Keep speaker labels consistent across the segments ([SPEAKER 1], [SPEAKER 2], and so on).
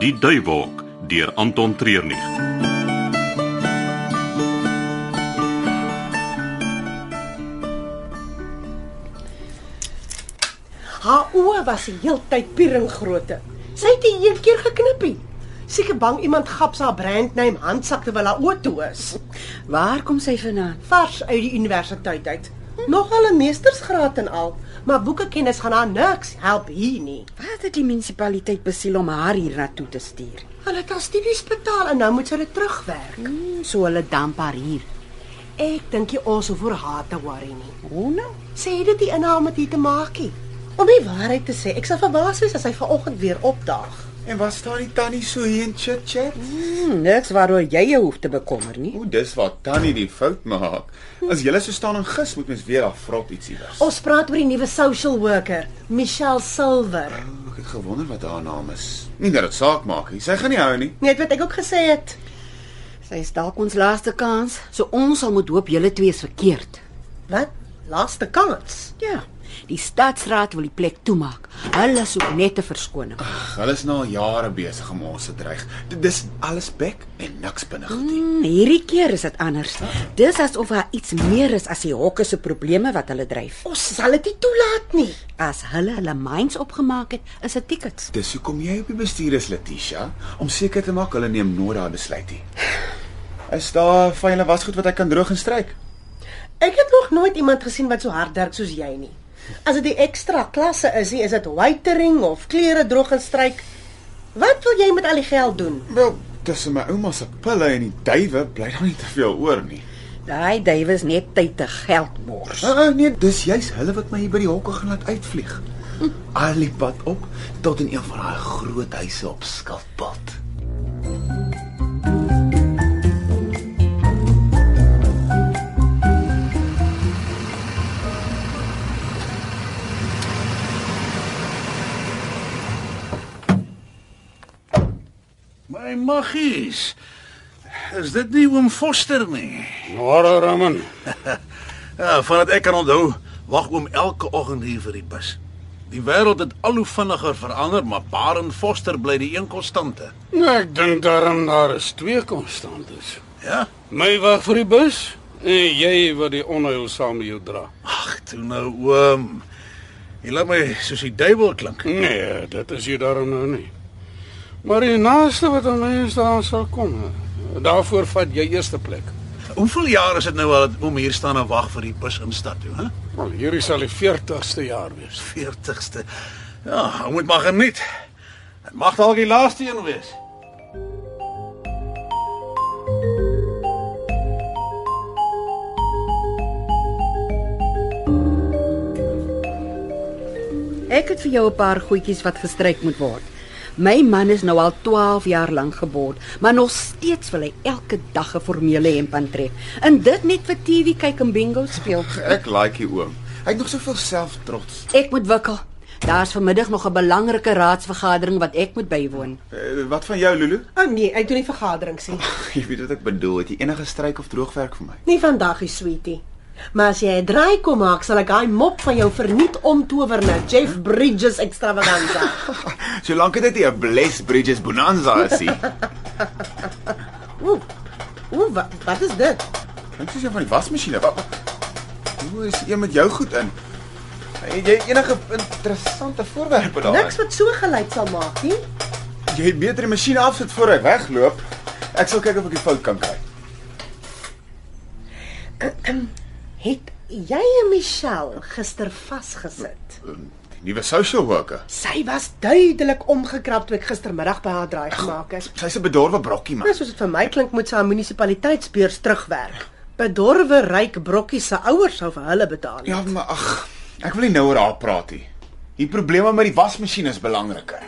[SPEAKER 1] Die Duiwolk deur Anton Treurnig.
[SPEAKER 2] Haar oë was die heeltyd pieringgrootte. Sy het die een keer geknippie. Seker bang iemand gap sy haar brandname handsak terwyl haar oë toe is.
[SPEAKER 3] Waar kom sy vandaan?
[SPEAKER 2] Vars uit die universiteit uit. Nogal 'n meestersgraad en al, maar boekekennis gaan haar niks help hier nie.
[SPEAKER 3] Wat het die munisipaliteit besiel om haar hiernatoe te stuur?
[SPEAKER 2] Hulle het haar studies betaal en nou moet sy dit terugwerk.
[SPEAKER 3] Hmm, so hulle damp haar hier.
[SPEAKER 2] Ek dink jy ons hoef oor haar te worry nie.
[SPEAKER 3] Hoena?
[SPEAKER 2] Sy het dit nie in haar om dit hier te maak nie. Om die waarheid te sê, ek sal verbaas wees as hy vanoggend weer opdaag.
[SPEAKER 4] En was daar nie tannie so hier in chit-chat?
[SPEAKER 3] Hmm, niks waaroor jy jou hoef te bekommer nie.
[SPEAKER 4] O, dis waar tannie die fout maak. As jy so staan en gis, moet mens weer af vrot ietsie was.
[SPEAKER 2] Ons praat oor die nuwe social worker, Michelle Silver.
[SPEAKER 4] Ek het gewonder wat haar naam is. Nie dat dit saak maak nie. Sy gaan nie hou nie.
[SPEAKER 2] Net wat Nee, ek ook gesê het.
[SPEAKER 3] Sy is dalk ons laaste kans, so ons sal moet hoop julle twee is verkeerd.
[SPEAKER 2] Wat? Laaste kans.
[SPEAKER 3] Ja. Die stadsraad wil die plek toemaak. Hulle soek net 'n verskoning.
[SPEAKER 4] Ag, hulle is nou al jare besig om ons te dreig. D- Dis alles bek en niks binne goed nie.
[SPEAKER 3] Hmm, hierdie keer is dit anders. Dis asof daar iets meer is as die hokke se probleme wat hulle dryf.
[SPEAKER 2] Ons sal dit nie toelaat nie.
[SPEAKER 3] As hulle hulle minds opgemaak het, is dit tickets.
[SPEAKER 4] Dis hoekom jy op die bestuur is, Letitia, om seker te maak hulle neem nooit daai besluit nie. Is daar fynle wasgoed wat ek kan droog en stryk?
[SPEAKER 2] Ek het nog nooit iemand gesien wat so hard werk soos jy nie. As dit die ekstra klasse is, nie, is dit whitering of klere droog en stryk. Wat wil jy met al die geld doen?
[SPEAKER 4] Wel, tussen my ouma se pille en die duwe bly daar nie te veel oor nie.
[SPEAKER 3] Daai Davies net tyd te geld mors.
[SPEAKER 4] Ah, ah, nee, dis juis hulle wat my hier by die hokke gaan laat uitvlieg. Al die pad op tot in een van daai groot huise op Skafpad.
[SPEAKER 5] My maggies. Is dit nie oom Foster nie?
[SPEAKER 6] Môre, Raman.
[SPEAKER 5] Ja, van wat ek kan onthou, wag oom elke oggend hier vir die bus. Die wêreld het al hoe vinniger verander, maar Baren Foster bly die een konstante.
[SPEAKER 6] Nou, ek dink daarom daar is twee konstantes.
[SPEAKER 5] Ja?
[SPEAKER 6] My wag vir die bus en jy wat die onheil saam met jou dra.
[SPEAKER 5] Ag, toe nou oom. Jy laat my soos die duiwel klink.
[SPEAKER 6] Nee, dit is jy daarom nou nie. Maar die naaste wat aan my is daar sal kom. hè. Daarvoor vat jy eerste plek.
[SPEAKER 5] Hoeveel jaar is dit nou al dat oom hier staan en wag vir die bus in stad toe, hè?
[SPEAKER 6] Wel, hierdie sal die 40ste jaar wees.
[SPEAKER 5] 40ste. Ja, ou moet maar geniet. Dit mag dalk die laaste een wees.
[SPEAKER 3] Ek het vir jou 'n paar goedjies wat gestryk moet word. My man is nou al 12 jaar lank gebord, maar nog steeds wil hy elke dag 'n formele hemp aantrek. En dit net vir TV kyk en bingo speel.
[SPEAKER 4] Ek like hier oom. Hy het nog soveel selftrots.
[SPEAKER 3] Ek moet wikkel. Daar's vanmiddag nog 'n belangrike raadsvergadering wat ek moet bywoon.
[SPEAKER 4] Uh, wat van jou, Lulu?
[SPEAKER 2] O oh nee, ek doen nie vergaderings nie.
[SPEAKER 4] Jy weet wat ek bedoel, het jy enige stryk of droogwerk vir my?
[SPEAKER 2] Nie vandag nie, sweetie. Maar as jy 'n draai kom maak, sal ek daai mop van jou verniet omtower na Jeff Bridges extravaganza.
[SPEAKER 4] Solank dit nie 'n Bless Bridges bonanza is nie.
[SPEAKER 2] Ooh. Ooh, wat, wat is dit?
[SPEAKER 4] Dink soos jy van die wasmasjiene. Wat? Hoe is een met jou goed in? Het jy enige interessante voorwerpe daar?
[SPEAKER 2] Niks wat so geluid sal maak nie.
[SPEAKER 4] Jy het beter die masjien afsit voor hy wegloop. Ek sal kyk of ek die fout kan kry.
[SPEAKER 2] Het jy en Michelle gister vasgesit?
[SPEAKER 4] Die nuwe social worker.
[SPEAKER 2] Sy was duidelik omgekrap toe ek gistermiddag by haar draai gemaak het.
[SPEAKER 4] Sy's 'n bedorwe brokkie man.
[SPEAKER 2] Dis soos dit vir my klink moet sy aan munisipaliteitsbeurs terugwerk. Bedorwe ryk brokkies se ouers sou vir hulle betaal.
[SPEAKER 4] Ja, maar ag, ek wil nie nou oor haar praat nie. Die probleme met die wasmasjien is belangriker.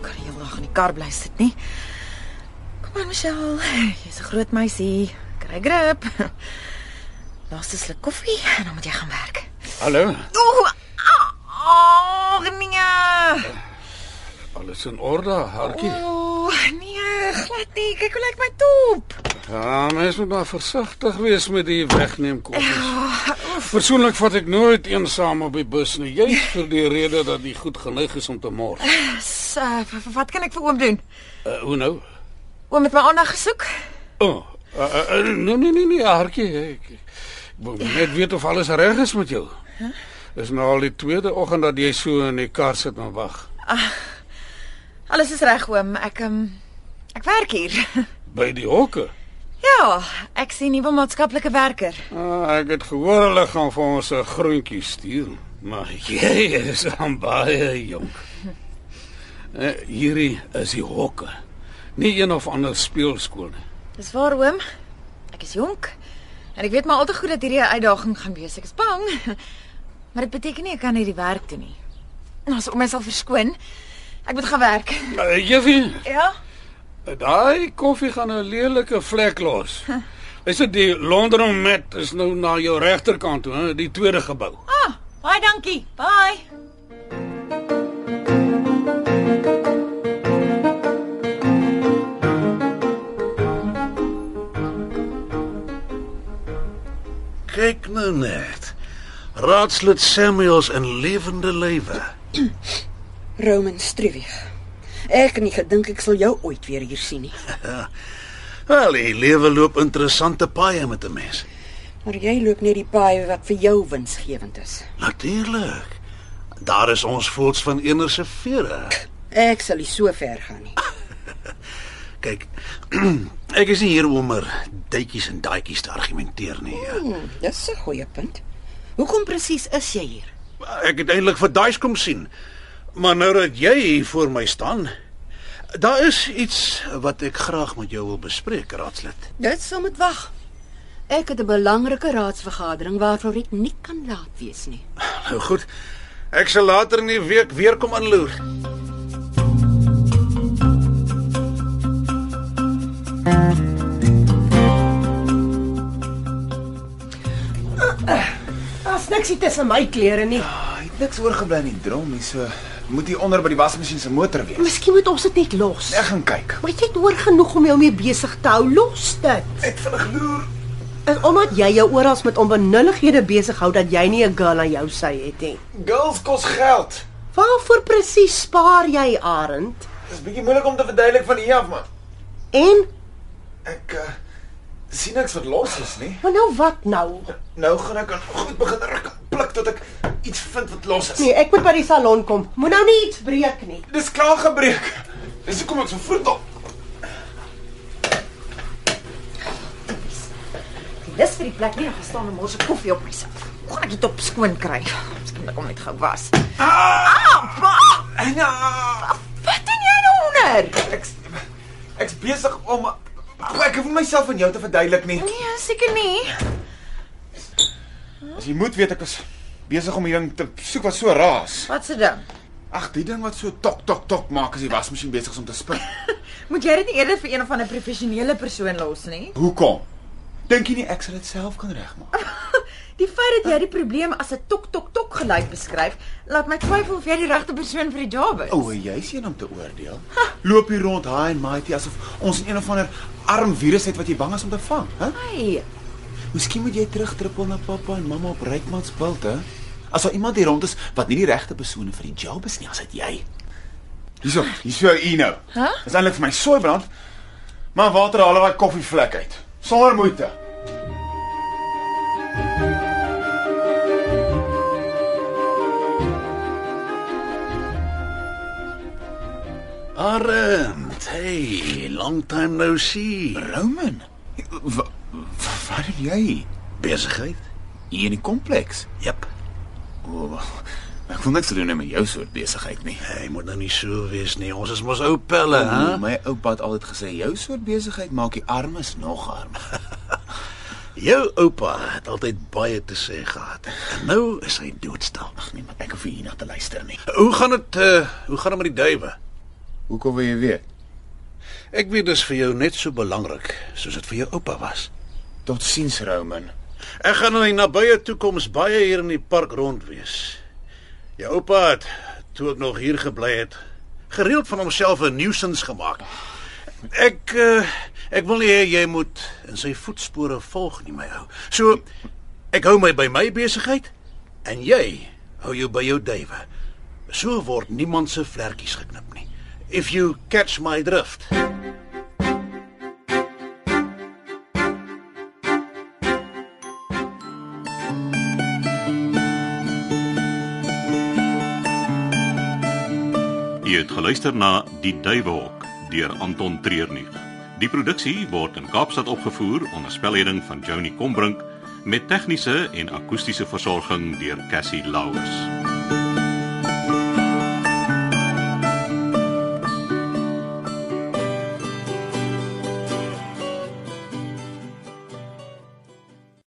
[SPEAKER 7] kan nie heeldag in die kar bly sit nie. Kom aan Michelle, jy's 'n groot meisie. Kry grip. Laaste sluk koffie en dan moet jy gaan werk.
[SPEAKER 6] Hallo,
[SPEAKER 7] Ooh. Ag nee.
[SPEAKER 6] alles in orde, hartjie?
[SPEAKER 7] Ooh, nee, glad dit nie. Kyk hoe lyk my top.
[SPEAKER 6] Ja, mens moet maar versigtig wees met die wegneem koffies. Persoonlik vat ek nooit een saam op die bus nie. Jy vir die rede dat jy goed geneig is om te mors.
[SPEAKER 7] S- uh, w- w- Wat kan ek vir oom doen?
[SPEAKER 6] Uh, hoe nou?
[SPEAKER 7] Oom het my aandag gesoek.
[SPEAKER 6] O. Oh, uh, uh, uh, nee nee nee nee, hartjie. Ek, ek wil net weet of alles reg is met jou. Dis nou al die tweede oggend dat jy so in die kar sit en wag.
[SPEAKER 7] Alles is reg oom. Ek ehm um, ek werk hier.
[SPEAKER 6] By die hokke.
[SPEAKER 7] ja, ek sien nuwe maatskaplike werker.
[SPEAKER 6] Ah, ek het gehoor hulle gaan vir ons 'n groentjie stuur, maar jy is aan baie jonk. Uh, hierdie is die hokke. Nie een of ander speelskool nie.
[SPEAKER 7] Dis waar oom. Ek is jonk. En ek weet maar al te goed dat hierdie 'n uitdaging gaan wees. Ek is bang. Maar dit beteken nie ek kan hierdie werk doen nie. Ons oom is al verskoon. Ek moet gaan werk.
[SPEAKER 6] Uh, Juffie,
[SPEAKER 7] Ja.
[SPEAKER 6] Eh, daai koffie gaan 'n lelike vlek los. Is dit die laundromat is nou na jou regterkant toe, hè, die tweede gebou.
[SPEAKER 7] Ah, baie dankie. Bye.
[SPEAKER 5] Kyk nou net. Raadslid Samuels in lewende lywe.
[SPEAKER 3] Roman Struwig. Ek het nie gedink ek sal jou ooit weer hier sien nie.
[SPEAKER 5] Wel, die lewe loop interessante paaie met 'n mens.
[SPEAKER 3] Maar jy loop net die paai wat vir jou winsgewend is.
[SPEAKER 5] Natuurlik. Daar is ons voels van enerse vere.
[SPEAKER 3] Ek sal nie so ver gaan nie.
[SPEAKER 5] Kyk, ek is nie hier om oor duitjies en daadjies te argumenteer nie. ja.
[SPEAKER 3] Hmm, dis 'n goeie punt. Hoekom presies is jy hier?
[SPEAKER 5] Ek het eintlik vir daai's kom sien. Maar nou dat jy hier voor my staan, daar is iets wat ek graag met jou wil bespreek, raadslid.
[SPEAKER 3] Dit sal moet wag. Ek het 'n belangrike raadsvergadering waarvoor ek nie kan laat wees nie.
[SPEAKER 5] Nou goed. Ek sal later in die week weer kom inloer.
[SPEAKER 2] Daar's niks hier tussen my klere nie.
[SPEAKER 4] Hy het niks oorgebly in die drom nie, so moet hier onder by die wasmasjien se motor wees.
[SPEAKER 2] Miskien moet ons dit net los.
[SPEAKER 4] Ek gaan kyk.
[SPEAKER 2] Maar jy het oor genoeg om jou mee besig te hou. Los dit.
[SPEAKER 4] Ek vinnig loer.
[SPEAKER 2] En omdat jy jou oral met onbenullighede besig hou dat jy nie 'n girl aan jou sy het nie.
[SPEAKER 4] Girls kos geld.
[SPEAKER 2] Waarvoor presies spaar jy, Arend?
[SPEAKER 4] Dis bietjie moeilik om te verduidelik van hier af, man.
[SPEAKER 2] En
[SPEAKER 4] Ek uh, sien niks wat los is nie.
[SPEAKER 2] maar nou wat nou?
[SPEAKER 4] Nou gaan ek aan goed begin ruk en pluk tot ek iets vind wat los is.
[SPEAKER 2] Nee, ek moet by die salon kom. Moet nou nie iets breek nie.
[SPEAKER 4] Dis klaar gebreek. Dis hoekom ek so vroeg op.
[SPEAKER 7] Dis vir die plek nie gestaan om morse koffie op myself. Hoe gaan ek dit op skoon kry? Miskien moet ek hom net gou was. Ah, pa!
[SPEAKER 4] En uh,
[SPEAKER 7] Wat doen jy daaronder?
[SPEAKER 4] ek ek's besig om ek hoef nie myself aan jou te verduidelik nie.
[SPEAKER 7] Nee, seker nie.
[SPEAKER 4] As jy moet weet ek was besig om hierdie ding te soek wat so raas.
[SPEAKER 7] Wat se ding?
[SPEAKER 4] Ag, die ding wat so tok tok tok maak as die wasmasjien besig is om te spring.
[SPEAKER 7] Moet jy dit nie eerder vir een of ander professionele persoon los nie?
[SPEAKER 4] Hoekom? Dink jy nie ek sal dit self kan regmaak?
[SPEAKER 7] Die feit dat jy die probleem as 'n tok tok tok geluid beskryf, laat my twyfel of jy die regte persoon vir die job is.
[SPEAKER 4] Oue, jy's een om te oordeel. Loop hier rond high and mighty asof ons een of ander arm virus het wat jy bang is om te vang, hè?
[SPEAKER 7] Hey,
[SPEAKER 4] Miskien moet jy terugdruppel na pappa en mamma op Rykmans bult, hè? As daar iemand hier rond is wat nie die regte persone vir die job is nie, as dit jy. Hierso, hier's jou u nou.
[SPEAKER 7] Huh?
[SPEAKER 4] Dis eintlik vir my soebrand. Maar water haal daai koffievlek uit. Sonder moeite.
[SPEAKER 5] Arend, hey, long time no see.
[SPEAKER 4] Roman, wa- wa- wat doen jy hier?
[SPEAKER 5] Besigheid?
[SPEAKER 4] hier in die kompleks?
[SPEAKER 5] Jep.
[SPEAKER 4] O, ek wil niks te doen hê met jou soort besigheid nie.
[SPEAKER 5] Hey, moet nou nie so wees nie. Ons is mos ou pelle,
[SPEAKER 4] Huh?
[SPEAKER 5] hè?
[SPEAKER 4] My oupa het altyd gesê jou soort besigheid maak die armes nog armer.
[SPEAKER 5] Jou oupa het altyd baie te sê gehad. En nou is hy doodstil.
[SPEAKER 4] Ag nee, maar ek hoef nie hierna te luister nie.
[SPEAKER 5] Hoe gaan dit uh, hoe gaan dit met die duwe?
[SPEAKER 4] Hoekom wil jy weet?
[SPEAKER 5] Ek weet dis vir jou net so belangrik soos dit vir jou oupa was.
[SPEAKER 4] Tot sins Roman.
[SPEAKER 5] Ek gaan nou in die nabye toekoms baie hier in die park rond wees. Jou oupa het toe ek nog hier gebly het, gereeld van homself 'n nuisance gemaak. Ek uh, ek wil nie hê jy moet in sy voetspore volg nie, my ou. So ek hou my by my besigheid en jy hou jou by jou duwe. So word niemand se vlekkies geknip nie. If you catch my drift.
[SPEAKER 1] U het geluister na Die Duiwelhok deur Anton Treurnig. Die produksie word in Kaapstad opgevoer onder spelleiding van Johnny Combrink met tegniese en akoestiese versorging deur Cassie Lauers.